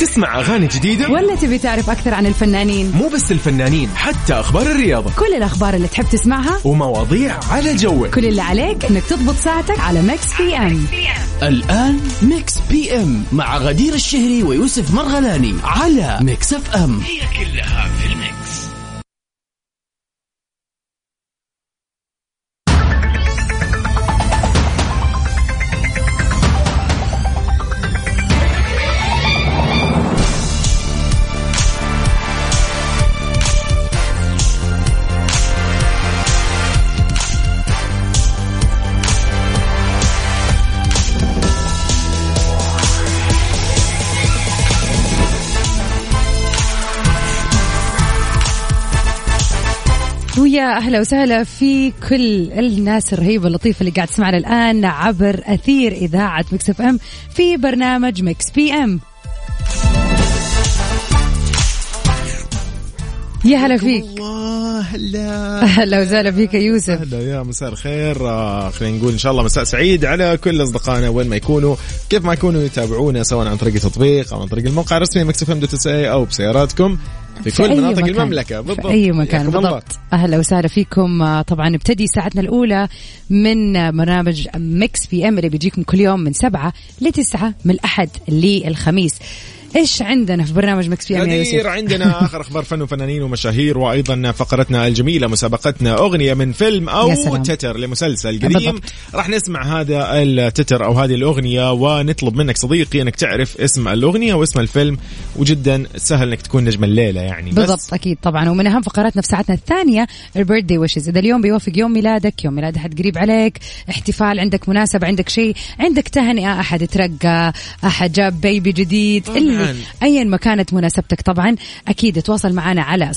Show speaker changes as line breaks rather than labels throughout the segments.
تسمع أغاني جديدة؟
ولا تبي تعرف أكثر عن الفنانين؟
مو بس الفنانين حتى أخبار الرياضة
كل الأخبار اللي تحب تسمعها
ومواضيع على جوك
كل اللي عليك انك تضبط ساعتك على ميكس بي ام
الآن ميكس بي ام مع غدير الشهري ويوسف مرغلاني على ميكس اف ام
ويا اهلا وسهلا في كل الناس الرهيبه اللطيفه اللي قاعد تسمعنا الان عبر اثير اذاعه مكس اف ام في برنامج مكس بي ام يا هلا فيك
الله هلا
اهلا وسهلا فيك يا يوسف
هلا يا مساء الخير آه، خلينا نقول ان شاء الله مساء سعيد على كل اصدقائنا وين ما يكونوا كيف ما يكونوا يتابعونا سواء عن طريق التطبيق او عن طريق الموقع الرسمي مكسف ام دوت او بسياراتكم في
في أي
كل مناطق
مكان.
المملكه بالضبط
في اي مكان
حياكم الله.
بالضبط اهلا وسهلا فيكم آه، طبعا نبتدي ساعتنا الاولى من آه، برنامج ميكس بي ام اللي بيجيكم كل يوم من سبعة لتسعة من الاحد للخميس ايش عندنا في برنامج ميكس بي ام يا
غدير
يوسف
عندنا اخر اخبار فن وفنانين ومشاهير وايضا فقرتنا الجميله مسابقتنا اغنيه من فيلم
يا
او
سلام.
تتر لمسلسل قديم
بالضبط.
راح نسمع هذا التتر او هذه الاغنيه ونطلب منك صديقي انك تعرف اسم الاغنيه واسم الفيلم وجدا سهل انك تكون نجم الليله يعني بس
بالضبط اكيد طبعا ومن اهم فقراتنا في ساعتنا الثانيه البيرث داي ويشز اذا اليوم بيوافق يوم ميلادك يوم ميلاد احد قريب عليك احتفال عندك مناسبه عندك شيء عندك تهنئه احد ترقى احد جاب بيبي جديد
طبعاً.
اللي ايا ما كانت مناسبتك طبعا اكيد تواصل معنا على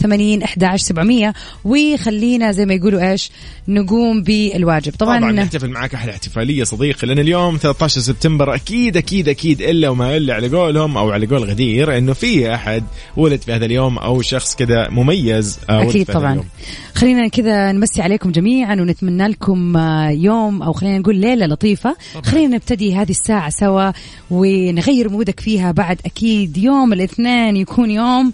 0548811700 وخلينا زي ما يقولوا ايش نقوم بالواجب
طبعا,
طبعا,
طبعاً نحتفل معاك احلى احتفاليه صديقي لان اليوم 13 سبتمبر اكيد اكيد اكيد الا وما الا على قولهم او على قول غدير انه في احد ولد في هذا اليوم او شخص كذا مميز آه، ولد
اكيد
في هذا
طبعا
اليوم.
خلينا كذا نمسي عليكم جميعا ونتمنى لكم آه، يوم او خلينا نقول ليله لطيفه خلينا نبتدي هذه الساعه سوا ونغير مودك فيها بعد اكيد يوم الاثنين يكون يوم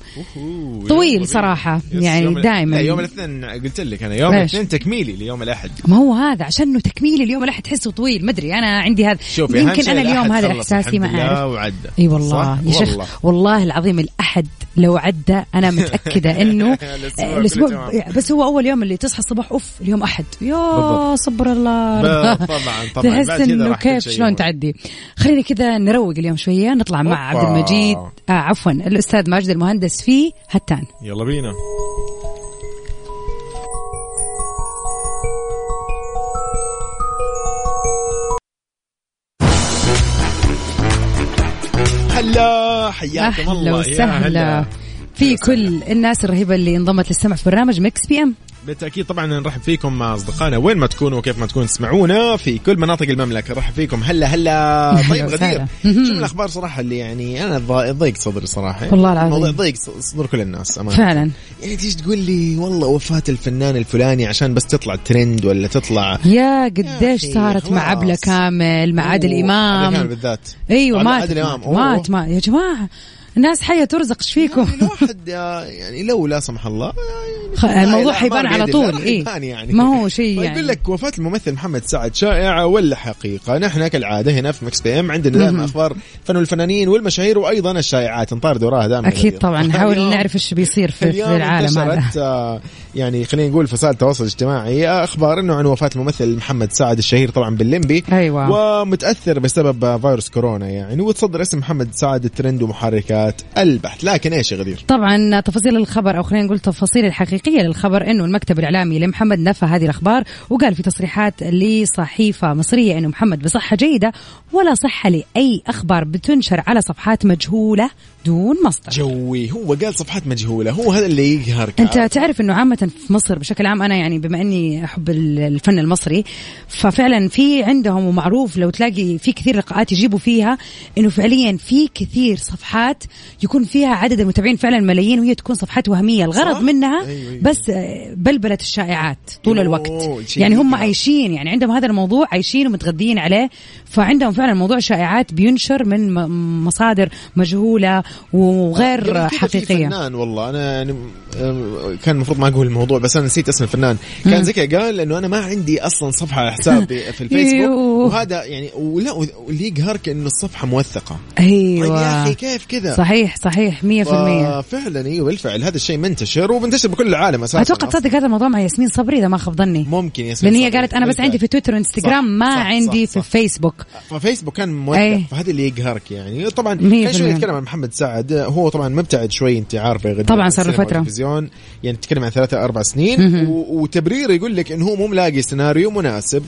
أوه،
طويل
يلا بينا.
صراحة،
يس،
يعني
يوم ال-
دايماً.
لا، يوم الاثنين قلت لك انا يوم
إيش؟
الاثنين تكميلي ليوم الاحد
ما هو هذا عشان تكميل اليوم لا تحسه طويل مدري انا عندي هذا
شوفي أهم
يمكن
شيء
انا اليوم
الأحد
هذا
خلص
احساسي ما
الحمد لله
اعرف
وعدى
اي والله
صح؟
يا شيخ
والله.
والله العظيم الاحد لو عدى انا متاكده انه
الأسبوع كله
الاسبوع
تمام.
آه، يعني بس هو اول يوم اللي تصحى الصبح اوف اليوم احد يا
بالضبط.
صبر الله
ب- طبعا طبعا
تحس
بعد كذا
انه
راح كل
كيف
شيء
شلون
يمر.
تعدي خلينا كذا نروق اليوم شويه نطلع مع
أوبا.
عبد المجيد آه عفوا الاستاذ ماجد المهندس في هتان
يلا بينا هلا حياكم
اهلا
الله يا
وسهلا في كل الناس الرهيبه اللي انضمت للسمع في برنامج مكس بي ام
بالتاكيد طبعا نرحب فيكم مع اصدقائنا وين ما تكونوا وكيف ما تكونوا تسمعونا في كل مناطق المملكه نرحب فيكم هلا هلا
هلا
طيب غدير
وسهلا.
شو من الاخبار صراحه اللي يعني انا ضا- ضيق صدري صراحه
والله العظيم.
الموضوع ضيق صدر كل الناس امانه
فعلا
يعني تيجي تقول لي والله وفاة الفنان الفلاني عشان بس تطلع ترند ولا تطلع
يا قديش
أخي،
صارت مع
خلاص.
عبله كامل مع عادل
أوه، عادل
امام
إمام بالذات
ايوه
عادل-
مات
عادل إمام.
مات,
أوه.
مات, مات يا جماعه الناس حيه ترزق ايش فيكم
يعني الواحد آه، يعني لو لا سمح الله آه، يعني
خ- الموضوع حيبان على طول
اي
ايه ما هو شيء يعني
طيب، يقول لك وفاة الممثل محمد سعد شائعة ولا حقيقة؟ نحن كالعادة هنا في مكس بي ام عندنا
مهم.
دائما اخبار فن والفنانين والمشاهير وايضا الشائعات نطارد وراها دائما
اكيد طبعا نحاول
اليوم-
نعرف ايش بيصير في, في
اليوم
العالم هذا
انتشرت آه، يعني خلينا نقول في وسائل التواصل الاجتماعي آه، اخبار انه عن وفاه الممثل محمد سعد الشهير طبعا باللمبي
أيوة.
ومتاثر بسبب آه، فيروس كورونا يعني وتصدر اسم محمد سعد الترند ومحركات البحث لكن ايش يا غدير؟
طبعا تفاصيل الخبر او خلينا نقول التفاصيل الحقيقيه للخبر انه المكتب الاعلامي لمحمد نفى هذه الاخبار وقال في تصريحات لصحيفه مصريه انه محمد بصحه جيده ولا صحه لاي اخبار بتنشر على صفحات مجهوله بدون مصدر
جوي هو قال صفحات مجهوله هو هذا اللي يقهرك
انت تعرف انه عامه في مصر بشكل عام انا يعني بما اني احب ال- الفن المصري ففعلا في عندهم ومعروف لو تلاقي في كثير لقاءات يجيبوا فيها انه فعليا في كثير صفحات يكون فيها عدد المتابعين فعلا ملايين وهي تكون صفحات وهميه الغرض
صح؟
منها
أيوة، أيوة.
بس آه، بلبله الشائعات طول
أوه،
الوقت
شيء
يعني هم
كده.
عايشين يعني عندهم هذا الموضوع عايشين ومتغذيين عليه فعندهم فعلا موضوع شائعات بينشر من م- مصادر مجهوله وغير
يعني كذا في
حقيقيه
فنان والله انا يعني أم- كان المفروض ما اقول الموضوع بس انا نسيت اسم الفنان كان زكي قال انه انا ما عندي اصلا صفحه على حسابي في الفيسبوك
يوه.
وهذا يعني ولا واللي يقهرك انه الصفحه موثقه
ايوه
طيب يا اخي كيف كذا
صحيح صحيح 100%
فعلا ايوه بالفعل هذا الشيء منتشر ومنتشر بكل العالم اساسا
اتوقع تصدق هذا الموضوع مع ياسمين صبري اذا ما خاب ظني
ممكن ياسمين
لان هي
صبري.
قالت انا بس
بالفعل.
عندي في تويتر وانستغرام
صح،
ما
صح، صح،
عندي
صح.
في فيسبوك
ففيسبوك كان
أي.
موثق فهذا اللي يقهرك يعني طبعا
إيه. مية
كان شوي
بالمية.
نتكلم عن محمد سعد هو طبعا مبتعد شوي انت عارفه غدا
طبعاً
عن
صار له
السينما
فترة.
والتلفزيون يعني نتكلم عن ثلاثة اربع سنين و- وتبرير يقول لك انه هو مو ملاقي سيناريو مناسب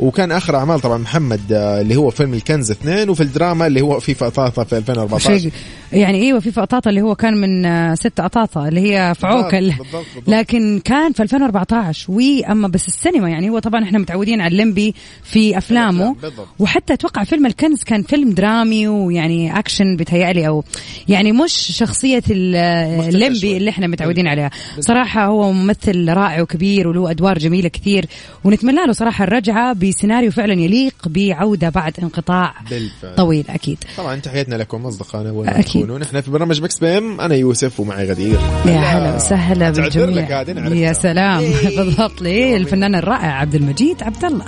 وكان اخر اعمال طبعا محمد آه، اللي هو فيلم الكنز اثنين وفي الدراما اللي هو في فطاطا في 2014
شيء يعني ايوه في فقطاطه اللي هو كان من آه، ست قطاطه اللي هي فعوكل
بالضبط، بالضبط.
لكن كان في 2014 واما بس السينما يعني هو طبعا احنا متعودين على اللمبي في افلامه
الأفلام، بالضبط.
وحتى اتوقع فيلم الكنز كان فيلم درامي ويعني اكشن بتهيألي او يعني مش شخصيه ال-
مختلفة
اللمبي
شوي. إيه،
اللي احنا متعودين عليها صراحه هو ممثل رائع وكبير وله ادوار جميله كثير ونتمنى له صراحه الرجعه بسيناريو فعلا يليق بعوده بعد انقطاع
بالفعل.
طويل اكيد
طبعا تحياتنا لكم اصدقائنا وين ما
أكيد.
تكونوا نحن في برنامج مكس بي ام انا يوسف ومعي غدير
يا هلا وسهلا
تعذر
بالجميع
لك هذه أنا عرفتها.
يا سلام
إيه.
بالضبط ليه الفنان الرائع عبد المجيد عبد الله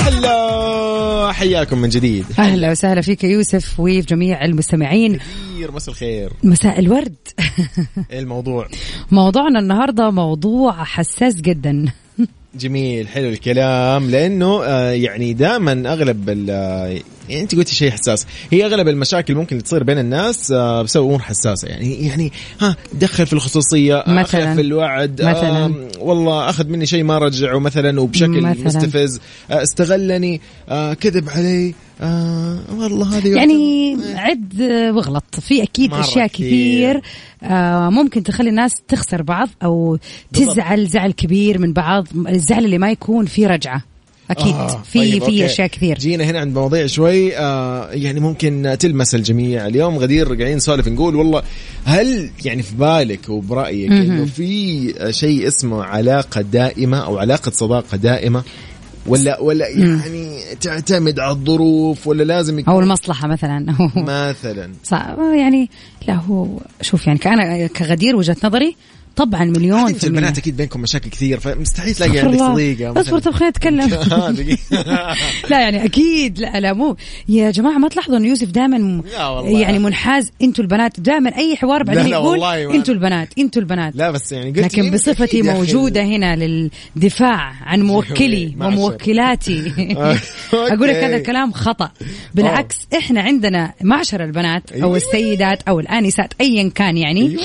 هلا حياكم من جديد
اهلا وسهلا فيك يا يوسف وفي جميع المستمعين
كثير مساء الخير
مساء الورد
إيه الموضوع
موضوعنا النهارده موضوع حساس جدا
جميل حلو الكلام لانه آه، يعني دائما اغلب ال- آه، يعني انت قلتي شيء حساس هي اغلب المشاكل ممكن اللي تصير بين الناس آه، بسبب امور حساسه يعني يعني ها دخل في الخصوصيه آه، أخذ
مثلاً.
في الوعد
مثلاً.
آم، والله اخذ مني شيء ما رجعه مثلا وبشكل
مثلاً.
مثلاً. مستفز آه، استغلني آه، كذب علي آه، والله هذه
يعني عد واغلط في اكيد
إيه. مرة
اشياء كثير
كثير.
آه، ممكن تخلي الناس تخسر بعض او تزعل زعل كبير من بعض الزعل اللي ما يكون فيه رجعه اكيد
آه،
في
طيب،
في
أوكي.
اشياء كثير
جينا هنا عند مواضيع شوي آه يعني ممكن تلمس الجميع اليوم غدير قاعدين نسولف نقول والله هل يعني في بالك وبرايك انه في شيء اسمه علاقه دائمه او علاقه صداقه دائمه ولا ولا يعني تعتمد على الظروف ولا لازم
او
يكون
المصلحه مثلا
مثلا
صعب يعني لا هو شوف يعني كأنا كغدير وجهة نظري طبعا مليون
انت
في المية
البنات اكيد بينكم مشاكل كثير فمستحيل تلاقي
استغفر
عندك
الله.
صديقه مثلاً.
اصبر طب خلينا نتكلم
آه، دقيقة.
لا يعني اكيد لا لا مو يا جماعه ما تلاحظوا ان يوسف دائما
لا والله.
يعني منحاز انتوا البنات دائما اي حوار بعدين
لا لا
يقول
والله ما-
انتوا البنات انتوا البنات
لا بس يعني قلت
لكن
إيه،
بصفتي
أكيد يا أخي.
موجوده هنا للدفاع عن موكلي
معشر.
وموكلاتي
آه، أوكي. آه.
اقول لك هذا الكلام خطا بالعكس احنا عندنا معشر البنات او
أيوة.
السيدات او الانسات ايا كان يعني
أيوة.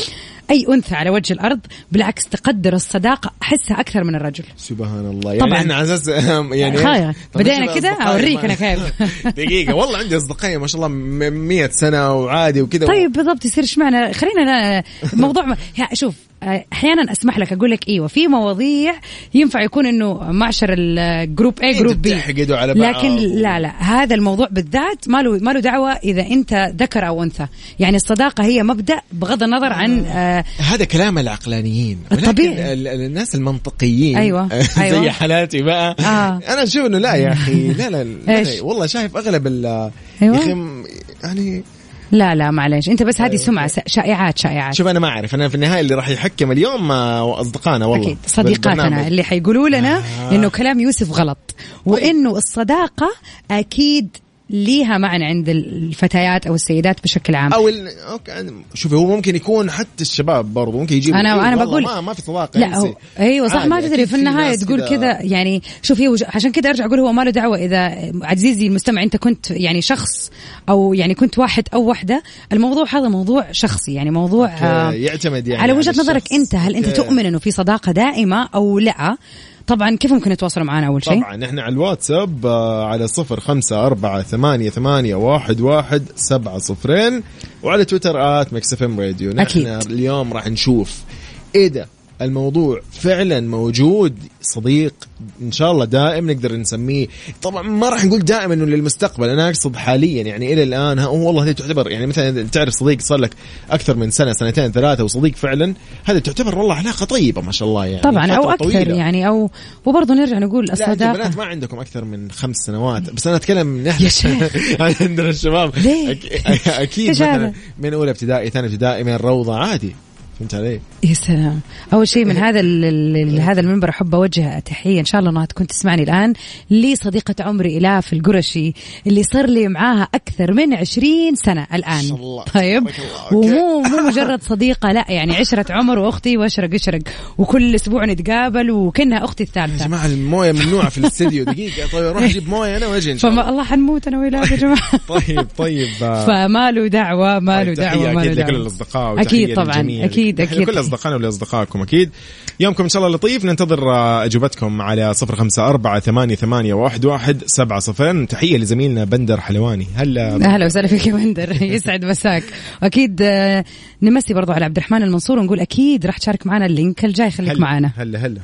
اي انثى على وجه الارض بالعكس تقدر الصداقه احسها اكثر من الرجل
سبحان الله يعني
طبعاً.
احنا على اساس يعني
خير.
طب
بدينا
إيش
كده،
الأصدقاء
أوريك
ما-
أنا كيف.
دقيقة والله عندي أصدقائي ما شاء الله م- 100 سنة وعادي وكذا
طيب بالضبط يصير ايش معنى خلينا لا- موضوع ما- ها، شوف آه، احيانا اسمح لك اقول لك ايوه في مواضيع ينفع يكون انه معشر الجروب اي
أنتوا
جروب بي
بتحقدوا إيه، على بعض.
لكن لا لا هذا الموضوع بالذات ما له ما له دعوه اذا انت ذكر او انثى يعني الصداقه هي مبدا بغض النظر عن آه،
هذا كلام العقلانيين ولكن
طبيعي.
ال- ال- الناس المنطقيين
أيوة. أيوة.
زي حالاتي بقى
آه.
انا اشوف انه لا يا اخي لا لا, لا,
إيش؟
لا والله شايف اغلب ال
أيوة.
يا اخي م- يعني
لا لا معلش انت بس هذه سمعه س- شائعات شائعات
طيب، شوف انا ما اعرف انا في النهايه اللي راح يحكم اليوم آه، اصدقائنا والله
اكيد صديقاتنا
بالبرنامج.
اللي حيقولوا لنا آه.
آه.
انه كلام يوسف غلط وانه الصداقه اكيد ليها معنى عند الفتيات او السيدات بشكل عام
او ال... اوكي شوف هو ممكن يكون حتى الشباب برضو ممكن يجيب
انا
إيه
انا
والله
بقول
ما, ما في صداقه
لا
ينسي.
هو ايوه صح ما
عادي،
تدري
أكيد
في النهايه
ناس
تقول
كده-
كذا يعني شوف هي وج- عشان كذا ارجع اقول هو ما له دعوه اذا عزيزي المستمع انت كنت يعني شخص او يعني كنت واحد او وحده الموضوع هذا موضوع شخصي يعني موضوع
أوكي، يعتمد يعني
على
على
وجهه نظرك
الشخص.
انت هل انت
أوكي.
تؤمن انه في صداقه دائمه او لا طبعا كيف ممكن يتواصلوا معنا اول شيء؟
طبعا احنا على الواتساب آه، على صفر خمسة أربعة ثمانية ثمانية واحد واحد سبعة صفرين وعلى تويتر آت ميكس اف ام راديو نحن
أكيد.
اليوم راح نشوف إذا الموضوع فعلا موجود صديق ان شاء الله دائم نقدر نسميه طبعا ما راح نقول دائما انه للمستقبل انا اقصد حاليا يعني الى الان ها هو والله هذه تعتبر يعني مثلا إذا تعرف صديق صار لك اكثر من سنه سنتين ثلاثه وصديق فعلا هذا تعتبر والله علاقه طيبه ما شاء الله يعني
طبعا او
فترة
اكثر
طويلة.
يعني او وبرضه نرجع نقول
لا انت
الصداقه
البنات ما عندكم اكثر من خمس سنوات بس انا اتكلم نحن
يا شيخ.
عندنا الشباب
ليه؟
أك- اكيد
إيش
مثلا
هذا؟
من اولى ابتدائي ثاني ابتدائي من الروضه عادي فهمت علي؟
يا سلام اول شيء
إيه.
من هذا ال- ال- ال- هذا المنبر احب اوجه تحيه ان شاء الله انها تكون تسمعني الان لصديقه عمري الاف القرشي اللي صار لي معاها اكثر من 20 سنه الان
شاء الله،
طيب
تبارك الله، أوكي.
ومو مو مجرد صديقه لا يعني عشره عمر واختي واشرق اشرق وكل اسبوع نتقابل وكانها اختي
يا
الثالثه
جماعه المويه ممنوعه في الاستديو دقيقه طيب اروح اجيب مويه انا واجي ان شاء الله
فما الله حنموت انا وياك يا جماعه
طيب طيب آه،
فما له دعوه ما له
طيب، تحية
دعوه ما له
اكيد لكل
دعوه
الاصدقاء
أكيد
وتحية
طبعاً،
للجميع.
أكيد،
تحية
أكيد.
لكل اصدقائنا ولاصدقائكم اكيد يومكم ان شاء الله لطيف ننتظر آه، اجوبتكم على 0548811700 تحيه لزميلنا بندر حلواني هلا
اهلا وسهلا فيك يا بندر يسعد مساك واكيد آه، نمسي برضو على عبد الرحمن المنصور ونقول اكيد راح تشارك معنا اللينك الجاي خليك
هلا
معنا
هلا هلا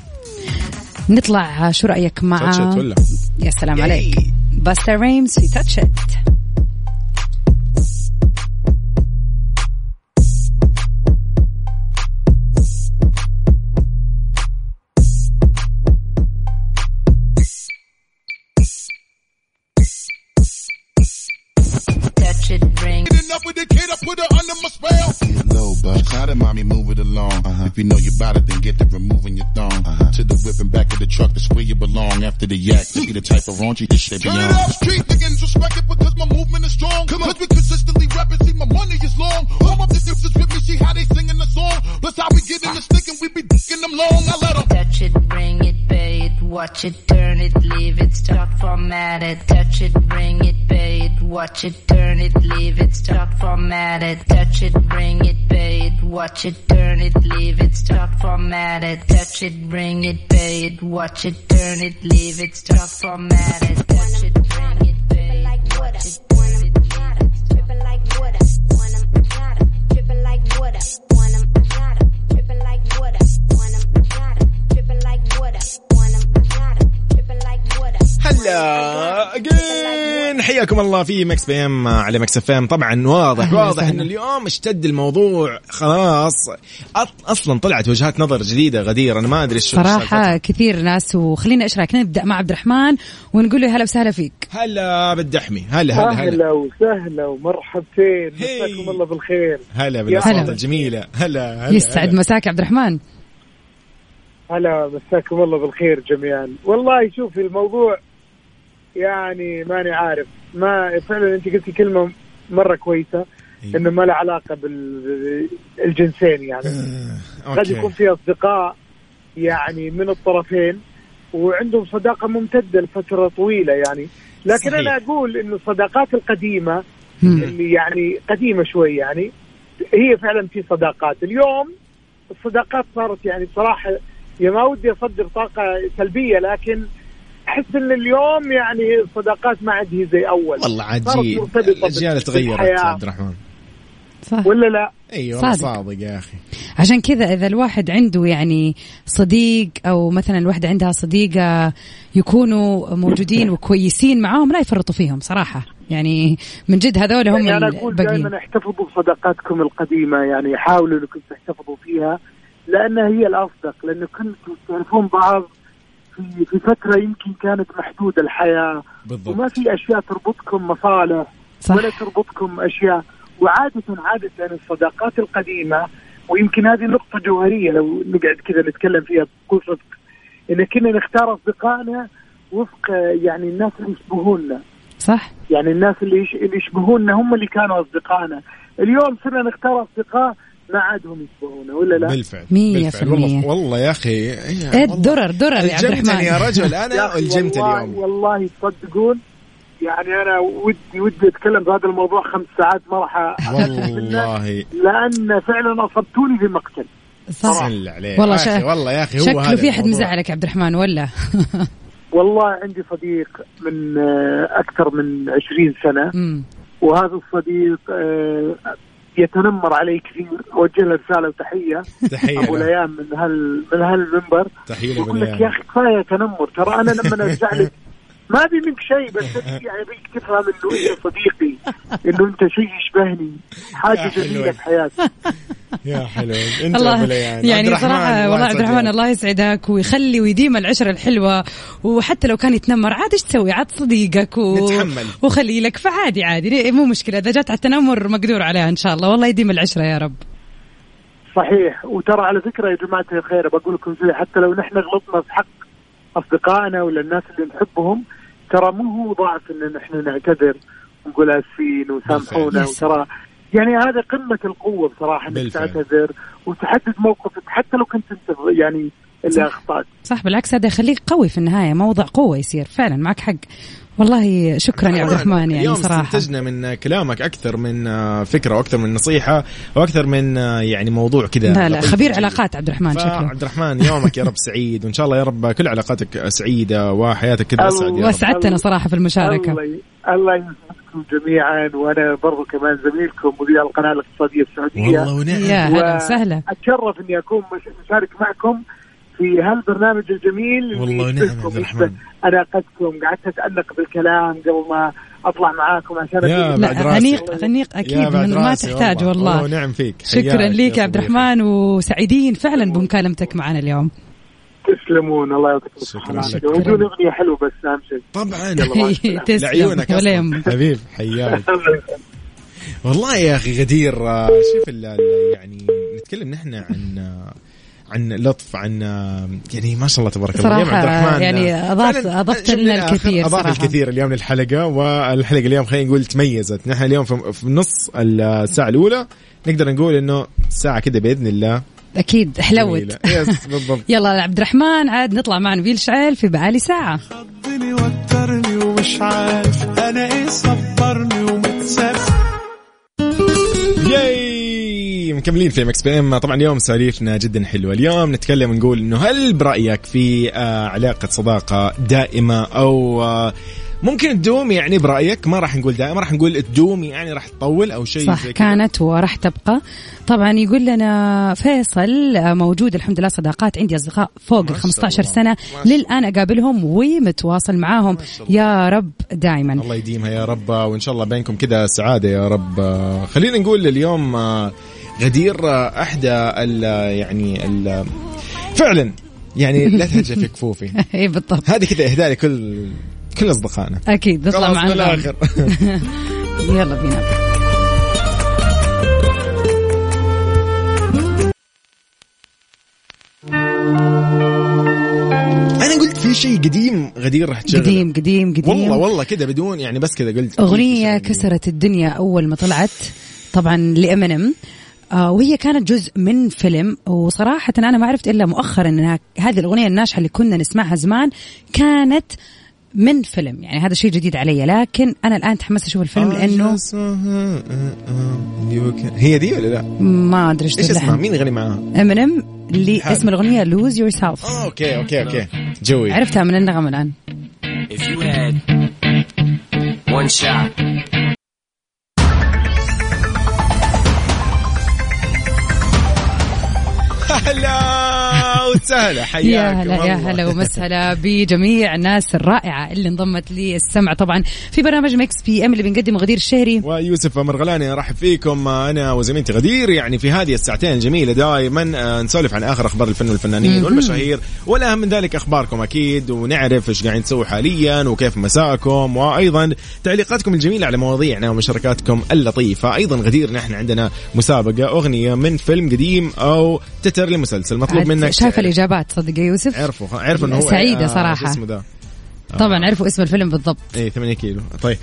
نطلع آه، شو رايك مع
تاتشت ولا
يا سلام عليك باستا ريمز في تاتشت
low, but cloud and mommy move it along.
Uh-huh.
If you know your body, then get to removing your thong. To the whip and back of the truck, that's where you belong. After the yak, to be the type of raunchy this shit be
Turn it
on.
up, street niggas respect it because my movement is strong. Cause we consistently rapping, see my money is long. All my bitches is with me, see how they singing the song. Plus how we get in the stick and we be dicking them long. I let 'em
Touch it, bring it, pay it, watch it, turn it, leave it, stop format it. Touch it, bring it, pay it, watch it, turn it, leave it, stop format it. Touch it, bring it, pay it, watch it, turn it, leave it, stop format it. Touch it, bring it, pay it, watch it, turn it, leave it, stop format it. Touch it, bring it, pay it, watch it, turn it, leave it, stop
Drippin' like water, want 'em, I got 'em. Drippin' like water, want 'em, I got 'em. Drippin' like water, want 'em, I got 'em. Drippin' like water, want 'em, I got 'em. Drippin' like water.
هلا اجين حياكم الله في مكس بي ام على مكس اف ام طبعا واضح
أهلا
واضح
وسهلا.
ان اليوم اشتد الموضوع خلاص أط- اصلا طلعت وجهات نظر جديده غدير انا ما ادري ايش
صراحه كثير ناس وخلينا ايش رايك نبدا مع عبد الرحمن ونقول له هلا وسهلا فيك
هلا بالدحمي هلا هلا هلا
اهلا وسهلا ومرحبتين
هي.
مساكم الله بالخير
هلا
هلا.
بالاصوات الجميله هلا هلا
يسعد
هلا.
مساك يا عبد الرحمن
هلا مساكم الله بالخير جميعا والله شوفي الموضوع يعني ماني عارف ما فعلا انت قلتي كلمه مره كويسه
أيوة.
انه ما له علاقه بالجنسين يعني قد يكون
اوكي
في اصدقاء يعني من الطرفين وعندهم صداقه ممتده لفتره طويله يعني لكن
صحيح.
انا اقول انه الصداقات القديمه
مم.
اللي يعني قديمه شوي يعني هي فعلا في صداقات اليوم الصداقات صارت يعني بصراحه يا ما ودي اصدر طاقه سلبيه لكن احس ان اليوم يعني الصداقات ما عاد هي زي اول
والله
صارت
عجيب
مرتبطة
الاجيال تغيرت يا
بالحياة.
عبد الرحمن
صح
ولا لا
اي والله
صادق.
صادق يا اخي
عشان كذا اذا الواحد عنده يعني صديق او مثلا الوحده عندها صديقه يكونوا موجودين وكويسين معاهم لا يفرطوا فيهم صراحه يعني من جد هذول هم
يعني انا اقول
الباقيين
دائما احتفظوا بصداقاتكم القديمه يعني حاولوا انكم تحتفظوا فيها لانها هي الاصدق لان كنتم تعرفون بعض في في فتره يمكن كانت محدوده الحياه وما
بالضبط
في اشياء تربطكم مصالح
صح
ولا تربطكم اشياء وعاده عاده يعني الصداقات القديمه ويمكن هذه نقطه جوهريه لو نقعد كذا نتكلم فيها بكل صدق ان كنا نختار اصدقائنا وفق آه، يعني الناس اللي يشبهونا
صح
يعني الناس اللي يش- اللي يشبهونا هم اللي كانوا اصدقائنا اليوم صرنا نختار اصدقاء ما عادهم يشبهونا ولا لا
بالفعل
مية
بالفعل.
في المية.
والله والله يا اخي إيه،
ايه
والله.
درر درر يا عبد
الجمتني يا
الرحمن
رجل انا
أخي
الجمت
والله-
اليوم
والله تصدقون يعني انا ودي ودي اتكلم في هذا الموضوع خمس ساعات ما راح
والله
لان فعلا اصبتوني في مقتل
صح
سل عليك
والله
يا أخي،
شا-
والله يا اخي هو
شكله
هذا
في احد
الموضوع.
مزعلك عبد الرحمن ولا
والله عندي صديق من آه، اكثر من 20 سنه
أمم.
وهذا الصديق آه، يتنمر علي كثير اوجه له رساله وتحيه
تحيه
ابو
له،
ليان من هال من هالمنبر
تحيه لأبو
يقول لك
ليان.
يا اخي كفايه تنمر ترى انا لما ارجع لك ما ابي منك شيء بس أبي- يعني ابيك تفهم انه انت صديقي انه انت شيء يشبهني
يا
حاجه
حلوة.
جميله في حياتي
يا حلو انت أبو
الله
ليان. عبد
يعني
الرحمن،
صراحه
الله
والله عبد الرحمن
يسعدك.
الله يسعدك ويخلي ويديم العشره الحلوه وحتى لو كان يتنمر عاد ايش تسوي عاد صديقك و...
نتحمل.
وخلي لك فعادي عادي ليه- مو مشكله اذا جات على التنمر مقدور عليها ان شاء الله والله يديم العشره يا رب
صحيح وترى على فكره يا جماعه الخير بقول لكم شيء حتى لو نحن غلطنا في حق اصدقائنا ولا الناس اللي نحبهم ترى مو هو ضعف ان نحن نعتذر ونقول اسفين وسامحونا
بالفعل.
وترى يعني هذا قمه القوه بصراحه انك
بالفعل.
تعتذر وتحدد موقفك حتى لو كنت انت يعني اللي اخطات
صح بالعكس هذا يخليك قوي في النهايه موضع قوه يصير فعلا معك حق والله شكرا يا عبد الرحمن يعني
اليوم
صراحه
استنتجنا من كلامك اكثر من آه، فكره واكثر من نصيحه واكثر من آه، يعني موضوع كذا
لا لا
لطيف
خبير
جميل.
علاقات عبد الرحمن شكله
فعبد الرحمن يومك يا رب سعيد وان شاء الله يا رب كل علاقاتك سعيده وحياتك كذا اسعد يا رب
وسعدتنا صراحه في المشاركه
الله ي- الله يسعدكم جميعا وانا برضو كمان زميلكم مذيع القناه الاقتصاديه السعوديه
والله ونعم
يا هلا وسهلا
اتشرف اني اكون مش- مشارك معكم في هالبرنامج الجميل اللي
والله ونعم يا
يشبهكم،
عبد الرحمن.
يشبه اناقتكم قعدت اتانق بالكلام قبل ما اطلع معاكم عشان
يا
أجيب-
لا
بعد راسي.
انيق انيق اكيد
يا بعد
من ما
راسي
تحتاج
والله
والله
ونعم فيك
شكرا
حياك
لك يا عبد
صديقي.
الرحمن وسعيدين فعلا بمكالمتك معنا اليوم
تسلمون الله يعطيكم
شكراً،
الصحه
شكراً.
وجود اغنيه حلوه بس اهم شيء
طبعا
تسلم
لعيونك
ولا
أصلاً.
يهم
حبيب حياك والله يا اخي غدير آه، شوف ال- ال- يعني نتكلم نحن عن آه، عن لطف عن آه، يعني ما شاء الله تبارك الله
صراحة
اليوم عبد الرحمن،
يعني
آه،
أضاف-
فعلاً
أضفت
جبنا
لنا
الآخر،
الكثير
اضاف
صراحة.
الكثير اليوم للحلقه والحلقه اليوم خلينا نقول تميزت نحن اليوم في في نص الساعه الاولى نقدر نقول انه ساعه كده باذن الله
اكيد حلوت
جميلة. يس بالضبط
يلا يا عبد الرحمن عاد نطلع مع نبيل شعيل في بعالي ساعه
خضني وترني ومش عارف انا ايه صبرني ومتسف
ياي مكملين في مكس بي ام طبعا اليوم سواليفنا جدا حلوه اليوم نتكلم نقول انه هل برايك في آه، علاقه صداقه دائمه او آه، ممكن تدوم يعني برايك ما راح نقول دائما راح نقول تدوم يعني راح تطول او شيء
صح
زي كذا.
كانت وراح تبقى طبعا يقول لنا فيصل آه، موجود الحمد لله صداقات عندي اصدقاء فوق
ما
ال 15
شاء الله.
سنه
ما شاء الله.
للان اقابلهم ومتواصل معاهم
شاء الله.
يا رب دائما
الله يديمها يا رب آه، وان شاء الله بينكم كذا سعاده يا رب آه، خلينا نقول اليوم آه، غدير آه، احدى ال يعني ال فعلا يعني لا تهجى في كفوفي
اي إيه، بالضبط
هذه كذا اهداء لكل كل اصدقائنا
اكيد نطلع
خلاص
معانا
بالاخر
يلا بينا
انا قلت في شيء قديم غدير راح تشغله
قديم قديم قديم
والله والله كذا بدون يعني بس كذا قلت
أغنية كسرت الدنيا أول ما طلعت طبعا لإمينيم آه وهي كانت جزء من فيلم وصراحة أنا ما عرفت إلا مؤخرا أن هذه الأغنية الناجحة اللي كنا نسمعها زمان كانت من فيلم يعني هذا شيء جديد علي لكن أنا الآن تحمست أشوف الفيلم
آه،
لأنه
هي دي ولا لا؟
ما أدري
ايش
إيش
اسمها؟ مين غني معاها؟
إمينيم اللي
حلو.
اسم الأغنية لوز يور سيلف
اه اوكي اوكي اوكي جوي
عرفتها من النغم الآن
If you had one shot,
هلا وسهلا حياك
يا هلا يا
والله.
هلا ومسهلا بجميع الناس الرائعه اللي انضمت للسمع طبعا في برنامج مكس بي ام اللي بنقدمه غدير الشهري
ويوسف مرغلاني ارحب فيكم انا وزميلتي غدير يعني في هذه الساعتين الجميله دائما نسولف عن اخر اخبار الفن والفنانين والمشاهير والاهم من ذلك اخباركم اكيد ونعرف ايش قاعدين تسووا حاليا وكيف مساءكم وايضا تعليقاتكم الجميله على مواضيعنا ومشاركاتكم اللطيفه ايضا غدير نحن عندنا مسابقه اغنيه من فيلم قديم او تتر لمسلسل مطلوب
عاد
منك
شايف
تعرف-
الاجابات صدق يا يوسف
عرفوا عرفوا انه هو
سعيدة
آه، شو
صراحة.
اسمه ذا
طبعا عرفوا اسم الفيلم بالضبط
اي 8 كيلو طيب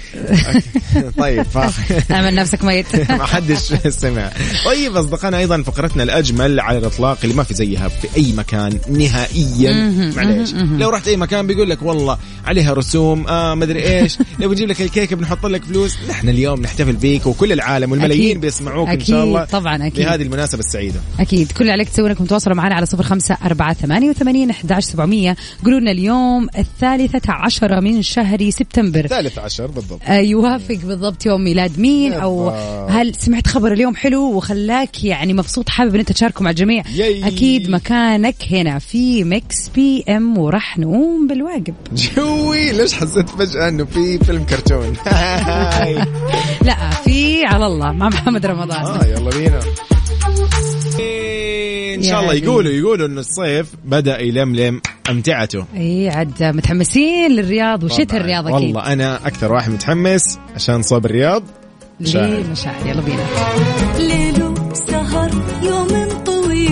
طيب فا-
اعمل نفسك ميت
ما حدش سمع طيب اصدقائنا ايضا فقرتنا الاجمل على الاطلاق اللي ما في زيها في اي مكان نهائيا معليش لو رحت اي مكان بيقول لك والله عليها رسوم آه مدري ايش لو بنجيب لك الكيكه بنحط لك فلوس نحن اليوم نحتفل بيك وكل العالم والملايين
أكيد.
بيسمعوك ان
أكيد،
شاء الله
طبعاً، أكيد.
لهذه المناسبه السعيده
اكيد كل اللي عليك تسوي انكم تتواصلوا معنا على صفر خمسه اربعه ثمانيه وثمانين احدى عشر سبعمئه قولوا لنا اليوم الثالثه عشرة من شهر سبتمبر
ثالث عشر بالضبط
آه، يوافق بالضبط يوم ميلاد مين او
بالضبط.
هل سمعت خبر اليوم حلو وخلاك يعني مبسوط حابب ان انت تشاركه مع الجميع
ياي.
اكيد مكانك هنا في ميكس بي ام وراح نقوم بالواجب
جوي ليش حسيت فجاه انه في فيلم كرتون
لا في على الله مع محمد رمضان
اه يلا بينا ان شاء الله يقولوا يقولوا انه الصيف بدا يلملم امتعته
اي عد إيه، متحمسين للرياض وشتاء الرياض اكيد
والله انا اكثر واحد متحمس عشان صوب الرياض شاعر.
لمشاعر يلا بينا
ليله سهر يوم طويل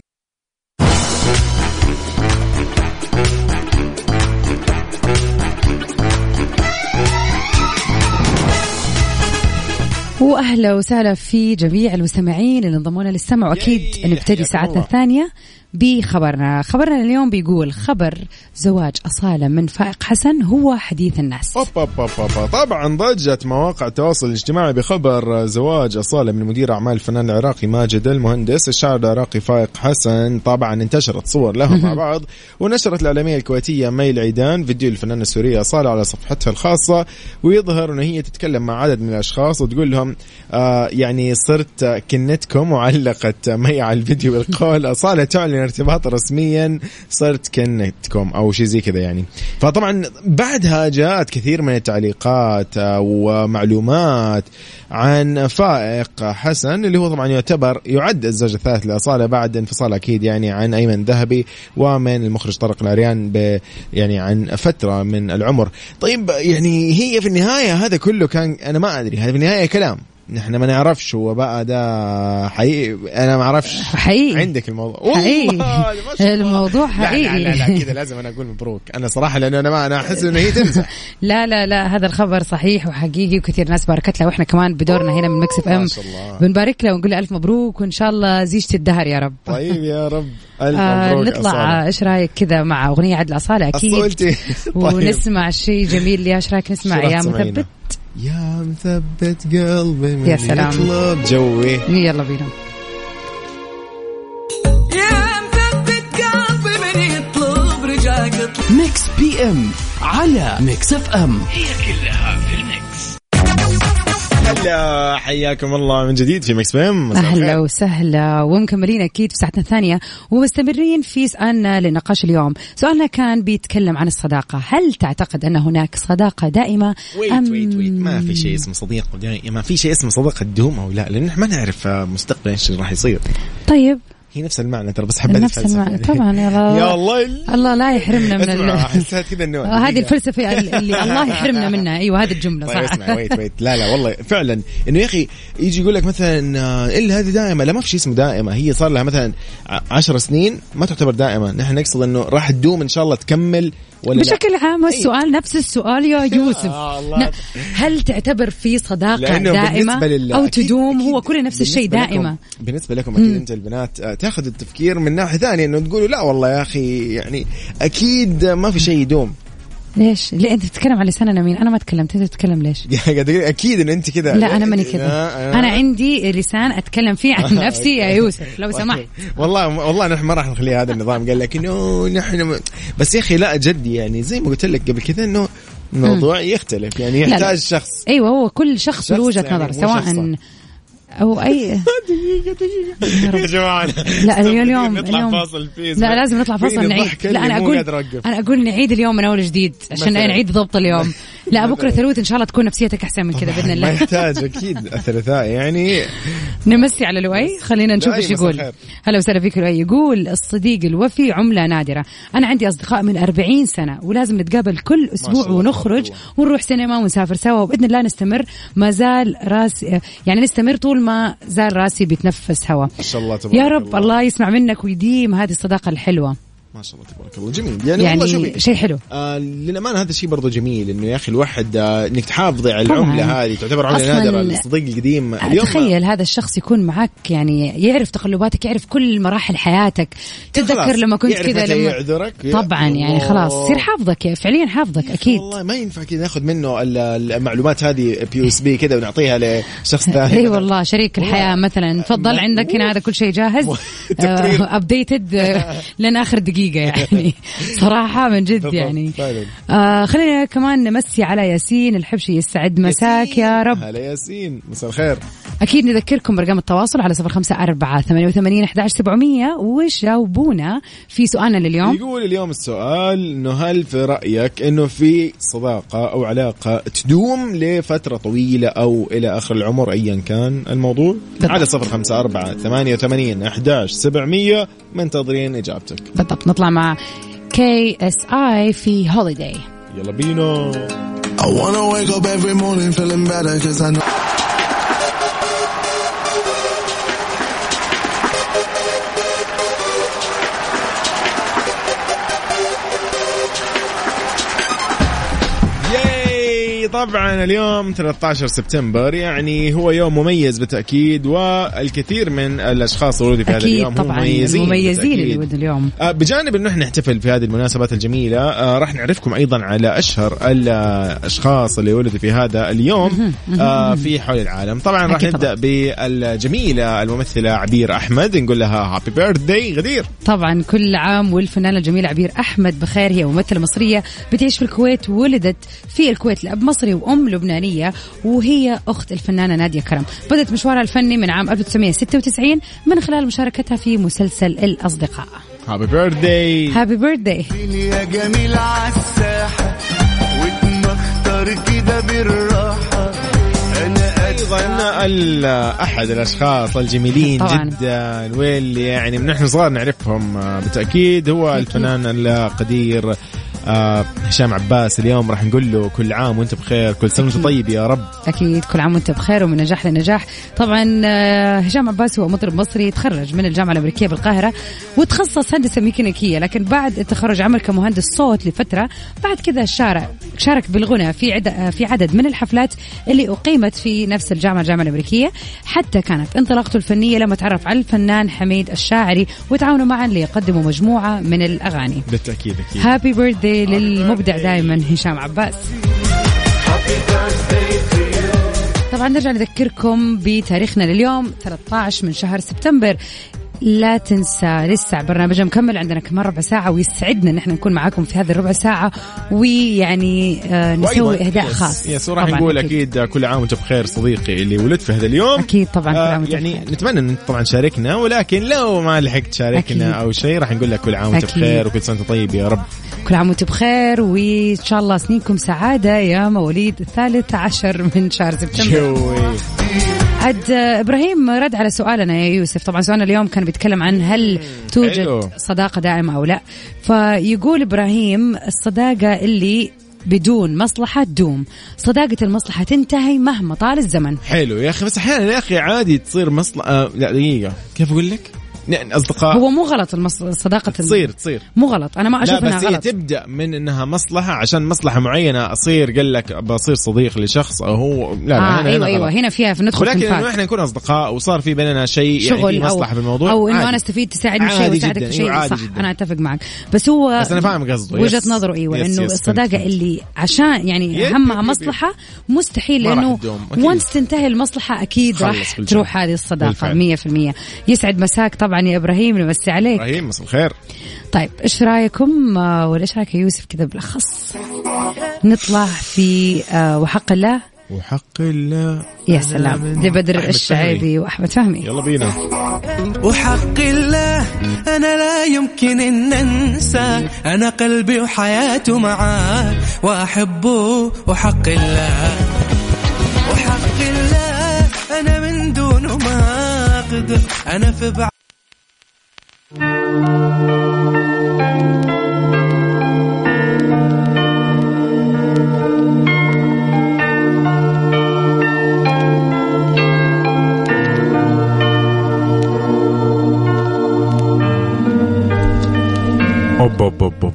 واهلا وسهلا في جميع المستمعين اللي انضمونا للسمع واكيد
ياي،
نبتدي
حياكم
ساعتنا
الله.
الثانيه بخبرنا خبرنا اليوم بيقول خبر زواج اصاله من فائق حسن هو حديث الناس
أوب أوب أوب أوب. طبعا ضجت مواقع التواصل الاجتماعي بخبر زواج أصالة من مدير أعمال الفنان العراقي ماجد المهندس الشاعر العراقي فائق حسن طبعا انتشرت صور لهم مع بعض ونشرت الإعلامية الكويتية مي العيدان فيديو الفنانة السورية أصالة على صفحتها الخاصة ويظهر أن هي تتكلم مع عدد من الأشخاص وتقول لهم آه يعني صرت آه، كنتكم وعلقت مي على الفيديو بالقول أصالة تعلن ارتباطها رسميا صرت كنتكم أو شيء زي كذا يعني فطبعا بعدها جاءت كثير من التعليقات آه، ومعلومات عن فائق حسن اللي هو طبعا يعتبر يعد الزوج الثالث لأصالة بعد انفصال أكيد يعني عن أيمن ذهبي ومن المخرج طارق العريان ب يعني عن فترة من العمر طيب يعني هي في النهاية هذا كله كان أنا ما أدري هذا في النهاية كلام نحن ما نعرفش هو بقى ده حقيقي انا ما اعرفش
حقيقي.
عندك الموضوع
حقيقي.
والله، ما شاء الله.
الموضوع
لا،
حقيقي.
لا لا, لا كذا لازم انا اقول مبروك انا صراحه لان انا ما انا احس انه هي تمزح
لا لا لا هذا الخبر صحيح وحقيقي وكثير ناس باركت له واحنا كمان بدورنا هنا من مكس اف ام
ما شاء الله.
بنبارك له ونقول له الف مبروك وان شاء الله زيجتي الدهر يا رب
طيب يا رب الف
آه
مبروك
نطلع
أصالة.
ايش رايك كذا مع اغنيه عدل اصاله اكيد
أصولتي. طيب.
ونسمع شيء جميل يا ايش رايك نسمع
شو راح
يا
تسمعينا؟
مثبت
يا مثبت قلبي من
يا سلام.
يطلب جوي
يلا بينا
يا مثبت قلبي من يطلب رجاك اطلب
ميكس بي ام على ميكس اف ام
هلا حياكم الله من جديد في مكس بيم
اهلا وسهلا ومكملين اكيد في ساعتنا الثانيه ومستمرين في سؤالنا لنقاش اليوم، سؤالنا كان بيتكلم عن الصداقه، هل تعتقد ان هناك صداقه دائمه
ويت ويت ويت ما في شيء اسمه صديق وداي- ما في شيء اسمه صداقه تدوم او لا لان احنا ما نعرف آه، مستقبلا ايش اللي راح يصير
طيب
هي نفس المعنى ترى بس حبيت
نفس المعنى طبعا يا الله
يا الله
الله لا يحرمنا من ال...
اسمع، أحسها كذا إنه-
آه، هذه الفلسفه ال- اللي الله يحرمنا منها ايوه هذه الجمله
طيب
صح
اسمع ويت ويت لا لا والله فعلا انه يا اخي يجي يقول لك مثلا آه، الا هذه دائمه لا ما في شيء اسمه دائمه هي صار لها مثلا ع- عشر سنين ما تعتبر دائمه نحن نقصد انه راح تدوم ان شاء الله تكمل ولا لا.
بشكل عام السؤال نفس السؤال يا يوسف
طيب. آه، الله.
ن- هل تعتبر في صداقة
لأنه
دائمة
بالنسبة لل-
أو
أكيد-
تدوم
أكيد
هو كل نفس الشيء
بالنسبة لكم-
دائمة
بالنسبة لكم أكيد أنت البنات آه، تاخذوا التفكير من ناحية ثانية إنه تقولوا لا والله يا أخي يعني أكيد ما في شيء يدوم
ليش؟ ليه أنت تتكلم على لسان أنا مين؟ أنا ما تكلمت أنت تتكلم ليش؟
قاعد أقول أكيد إن أنت كذا آه،
لا أنا ماني
لا، آه،
كذا أنا عندي لسان أتكلم فيه عن نفسي يا يوسف لو سمحت
والله والله نحن ما راح نخلي هذا النظام قال لك انه نحن م... بس يا اخي لا جد يعني زي ما قلت لك قبل كذا انه الموضوع يختلف يعني
لا.
يحتاج شخص
أيوه هو كل شخص
شخص
له وجهة
يعني
نظر
مو
سواء
شخصا.
أو أي
يا جماعه
لا اليوم
نطلع
اليوم
فاصل فيه
لا لازم نطلع
فيني
فاصل نعيد
الضحكة
لا
اللي
انا
مو
اقول
قادر أوقف.
انا اقول نعيد اليوم من اول جديد عشان
مثلاً.
نعيد ضبط اليوم لا بكره ثروت ان شاء الله تكون نفسيتك احسن من كذا باذن
ما
الله
يحتاج اكيد الثلاثاء يعني
نمسي على لؤي خلينا نشوف
لؤي،
ايش
مساء
يقول
الخير.
هلا وسهلا فيك لؤي يقول الصديق الوفي عملة نادرة أنا عندي أصدقاء من 40 سنة ولازم نتقابل كل أسبوع
الله،
ونخرج
ما شاء
ونروح سينما ونسافر سوا وبإذن الله نستمر ما زال راس يعني نستمر طول ما زال راسي بيتنفس هوا
ما شاء الله تبارك
يا رب
الله
الله يسمع منك ويديم هذه الصداقة الحلوة
ما شاء الله تبارك الله جميل يعني, والله شوفي
يعني شيء حلو
آه للأمانة هذا الشيء برضو جميل إنه يا أخي الواحد آه إنك تحافظي على العملة هذه تعتبر عملة
أصلاً
نادرة الصديق القديم اليوم
تخيل هذا الشخص يكون معك يعني يعرف تقلباتك يعرف كل مراحل حياتك تتذكر
خلاص،
لما كنت
يعرف
كذا
متى
لما
يعذرك
طبعا يعني
الله.
خلاص يصير حافظك يعني فعليا حافظك اكيد
والله ما ينفع كذا ناخذ منه ال- المعلومات هذه بي اس بي كذا ونعطيها لشخص ثاني
اي والله شريك الحياه مثلا تفضل عندك هنا هذا كل شيء جاهز آه،
تقرير.
ابديتد لين اخر دقيقه يعني صراحه من جد
بالضبط،
يعني
فعلاً.
آه خلينا كمان نمسي على ياسين الحبشي يسعد مساك يا رب
هلا ياسين مساء الخير
أكيد نذكركم برقم التواصل على صفر خمسة أربعة ثمانية وثمانين أحد سبعمية وجاوبونا في سؤالنا لليوم
يقول اليوم السؤال انه هل في رايك انه في صداقه او علاقه تدوم لفتره طويله او الى اخر العمر ايا كان الموضوع على صفر خمسة أربعة ثمانية وثمانين أحداش سبعمية منتظرين إجابتك
بالضبط نطلع مع كي اس اي في هوليداي
يلا بينا
I wanna wake up every morning feeling better cause I know
ياي طبعا اليوم 13 سبتمبر يعني هو يوم مميز بالتأكيد والكثير من الأشخاص الولود في هذا
أكيد
اليوم هم
طبعا المميزين
بالتأكيد.
اللي ودنا اليوم
آه، بجانب انه احنا نحتفل في هذه المناسبات الجميله آه، راح نعرفكم ايضا على اشهر الاشخاص اللي ولدوا في هذا اليوم آه، في حول العالم طبعا راح
أكيد
نبدا بالجميله الممثله عبير احمد نقول لها هابي بيرثداي غدير
طبعا كل عام والفنانة الجميلة عبير أحمد بخير هي ممثلة مصرية بتعيش في الكويت ولدت في الكويت لأب مصري وأم لبنانية وهي أخت الفنانة نادية كرم بدأت مشوارها الفني من عام 1996 من خلال مشاركتها في مسلسل الأصدقاء
هابي بيرثداي
هابي بيرثداي
يا جميل عالساحة واتمختر كده بالراحة أنا
ايضا ال- احد الاشخاص الجميلين
طبعاً.
جدا واللي يعني من احنا صغار نعرفهم آه، بالتاكيد هو الفنان القدير آه، هشام عباس اليوم راح نقول له كل عام وانت بخير كل سنه وانت طيب يا رب
أكيد كل عام وأنت بخير ومن نجاح لنجاح طبعا آه، هشام عباس هو مطرب مصري تخرج من الجامعة الأمريكية بالقاهرة وتخصص هندسة ميكانيكية لكن بعد التخرج عمل كمهندس صوت لفترة بعد كذا شارك شارك بالغنى في عد آه، في عدد من الحفلات اللي أقيمت في نفس الجامعة الجامعة الأمريكية حتى كانت انطلاقته الفنية لما تعرف على الفنان حميد الشاعري وتعاونوا معا ليقدموا مجموعة من الأغاني
بالتاكيد اكيد
هابي بيرثدي للمبدع دائما هشام عباس طبعا نرجع نذكركم بتاريخنا لليوم 13 من شهر سبتمبر لا تنسى لسه برنامجنا مكمل عندنا كمان ربع ساعة ويسعدنا ان احنا نكون معاكم في هذه الربع ساعة ويعني آه نسوي
وأيضاً
اهداء
يس-
خاص
يس وراح
طبعاً
نقول اكيد كل عام وانت بخير صديقي اللي ولدت في هذا اليوم
اكيد طبعا كل
آه،
عام وأنت
يعني
بخير.
نتمنى ان انت طبعا شاركنا ولكن لو ما لحقت تشاركنا
أكيد.
او شيء راح نقول لك كل عام وانت
أكيد.
بخير وكل سنه وأنت طيب يا رب
كل عام وانتم بخير وان شاء الله سنينكم سعادة يا مواليد الثالث عشر من شهر سبتمبر
شوي.
عد ابراهيم رد على سؤالنا يا يوسف طبعا سؤالنا اليوم كان بيتكلم عن هل توجد
حلو.
صداقه دائمه او لا فيقول ابراهيم الصداقه اللي بدون مصلحة تدوم صداقة المصلحة تنتهي مهما طال الزمن
حلو يا اخي بس احيانا يا اخي عادي تصير مصلحه آه لا دقيقه كيف اقول لك؟ ن- اصدقاء
هو مو غلط المص... صداقة الم-
آه. تصير تصير
مو غلط أنا ما
لا
أشوف أنها
بس هي
غلط
تبدا من انها مصلحه عشان مصلحه معينه اصير قال لك بصير صديق لشخص او هو لا لا هنا-
آه
هنا
أيوة أيوة
غلط.
هنا فيها في ندخل
ولكن
في
انه
نفاق
احنا نكون اصدقاء وصار في بيننا شيء يعني في
شغل
مصلحه
أو,
بالموضوع
أو إنه أنا
عادي.
استفيد تساعدني في شيء
عادي
وأساعدك
جداً،
في شيء
أيوة، عادي
صح
جداً.
أنا أتفق معك بس هو
بس أنا فاهم قصده،
وجهة
يس.
نظره أيوة
يس،
إنه
يس، فهمت،
الصداقة
فهمت.
اللي عشان يعني
يب، يب،
همها
يب، يب.
مستحيل مستحيل
ما راح
لأنه
تدوم، أكيد.
وانس تنتهي المصلحة أكيد
خلص
راح
بالجنة.
تروح هذه الصداقة
بالفعل.
100% يسعد مساك طبعا يا إبراهيم نمسي عليك
ابراهيم مساء الخير
طيب ايش رايكم آه، ولا ايش رايك يا يوسف كذا بالاخص نطلع في آه، وحق الله
وحق الله
يا سلام لبدر
أحمد
الشاعري واحمد فهمي
يلا بينا
وحق الله أنا لا يمكن أن أنسى أنا قلبي وحياته معاه وأحبه وحق الله وحق الله أنا من دونه ما أقدر أنا في بعض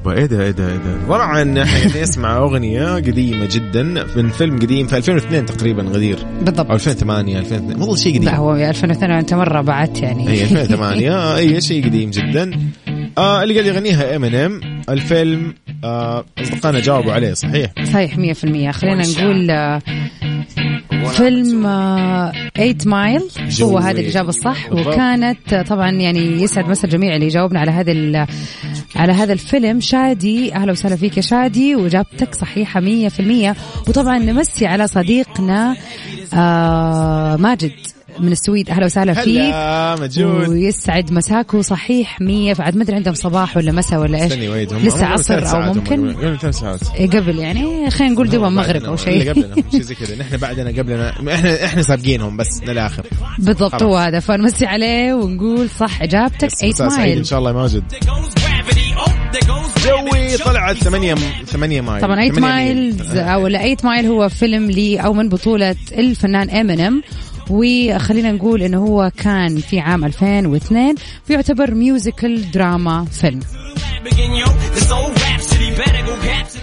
ايه ده ايه ده ايه ده عبارة عن احنا نسمع اغنية قديمة جدا من فيلم قديم في 2002 تقريبا غدير او
بالضبط
2008 2002 والله شيء
لا
قديم إيه،
هو 2002 انت مره بعدت يعني
اي 2008 اي آه، إيه، شيء قديم جدا آه اللي قال يغنيها ام ان ام الفيلم آه اصدقائنا جاوبوا عليه صحيح
صحيح 100% خلينا نقول آه،
نعم،
فيلم 8 مايل هو
جوي.
هذه الإجابة الصح
إيه. بالضبط.
وكانت آه، طبعا يعني يسعد مسا الجميع اللي جاوبنا على هذا ال- على هذا الفيلم شادي أهلا وسهلا فيك يا شادي وإجابتك صحيحة 100% وطبعا نمسي على صديقنا آه، ماجد من السويد أهلا وسهلا فيك
هلا مجود
ويسعد مساكو صحيح 100 فعاد ما ادري عندهم صباح ولا مساء ولا ايش
استني ويد هم
لسه
هم قبل
عصر
ثلاث
او
ساعات هم
ممكن
قبل- قبل ثلاث ساعات
قبل يعني خلينا نقول دوبا مغرب او
اللي
شيء
قبلنا شيء زي كذا نحن بعدنا قبلنا احنا احنا سابقينهم بس للاخر
بالضبط هو
خلاص.
هذا فنمسي عليه ونقول صح اجابتك
بس
8
مساء سعيد ان
مايل
شاء الله يا ماجد جوي طلعت 8 8 مايل
طبعا 8 مايل او لا 8 مايل هو فيلم لي او من بطوله الفنان امينيم وخلينا نقول انه هو كان في عام 2002 ويعتبر ميوزيكال دراما فيلم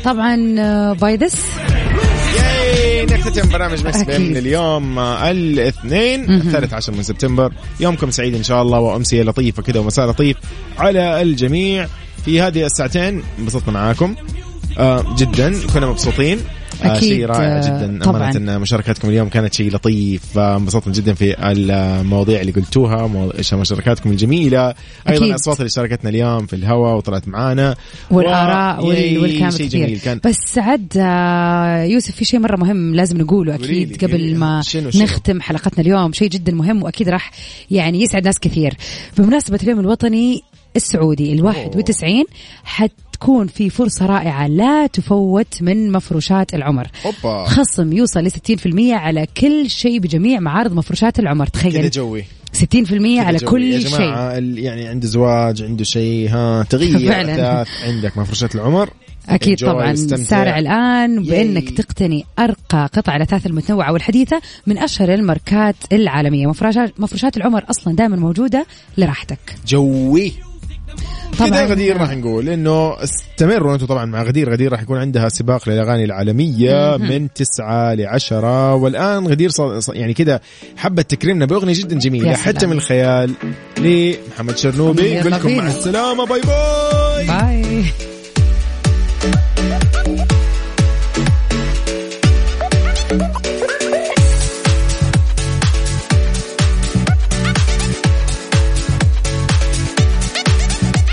طبعا باي ذس
ياي نختتم برامج مكس بي
أكيد.
من اليوم آه، الاثنين الثالث عشر من سبتمبر يومكم سعيد ان شاء الله وامسيه لطيفه كذا ومساء لطيف على الجميع في هذه الساعتين انبسطنا معاكم آه جدا كنا مبسوطين آه
أكيد،
شيء رائع
آه،
جدا
طبعاً.
أمانة إن مشاركاتكم اليوم كانت شيء لطيف آه، انبسطنا جدا في المواضيع اللي قلتوها مو- مشاركاتكم الجميلة أيضا
أكيد.
الأصوات اللي شاركتنا اليوم في الهواء وطلعت معانا
والاراء
و-
وال-
ياي،
والكلام
شيء
الكثير
جميل كان
بس عد آه، يوسف في شيء مره مهم لازم نقوله
قولي لي،
اكيد
قولي
قبل
لي.
ما
شنو- شنو؟
نختم حلقتنا اليوم شيء جدا مهم واكيد راح يعني يسعد ناس كثير بمناسبه اليوم الوطني السعودي ال 91 حتكون في فرصة رائعة لا تفوت من مفروشات العمر
أوبا.
خصم يوصل ل 60% على كل شيء بجميع معارض مفروشات العمر
كذا
تخيل 60%
جوي
يعني على
جو.
كل
يا
شيء
جماعة ال- يعني عنده زواج عنده شيء ها تغيير
فعلاً.
أحداث عندك مفروشات العمر
أكيد
enjoy،
طبعا
استمتع.
سارع الآن
Yay.
بأنك تقتني أرقى قطع الأثاث المتنوعة والحديثة من أشهر الماركات العالمية مفرشات, مفرشات العمر أصلا دائما موجودة لراحتك
جوي كذا
طبعا
غدير راح نقول انه استمروا انتم طبعا مع غدير غدير راح يكون عندها سباق للاغاني العالميه من 9 ل 10 والان غدير صار صار- يعني كذا حبت تكرمنا باغنيه جدا جميله
يا
حتى
سلام.
من الخيال لمحمد شرنوبي
يلا
نقول لكم مع
بينا.
السلامه باي باي
باي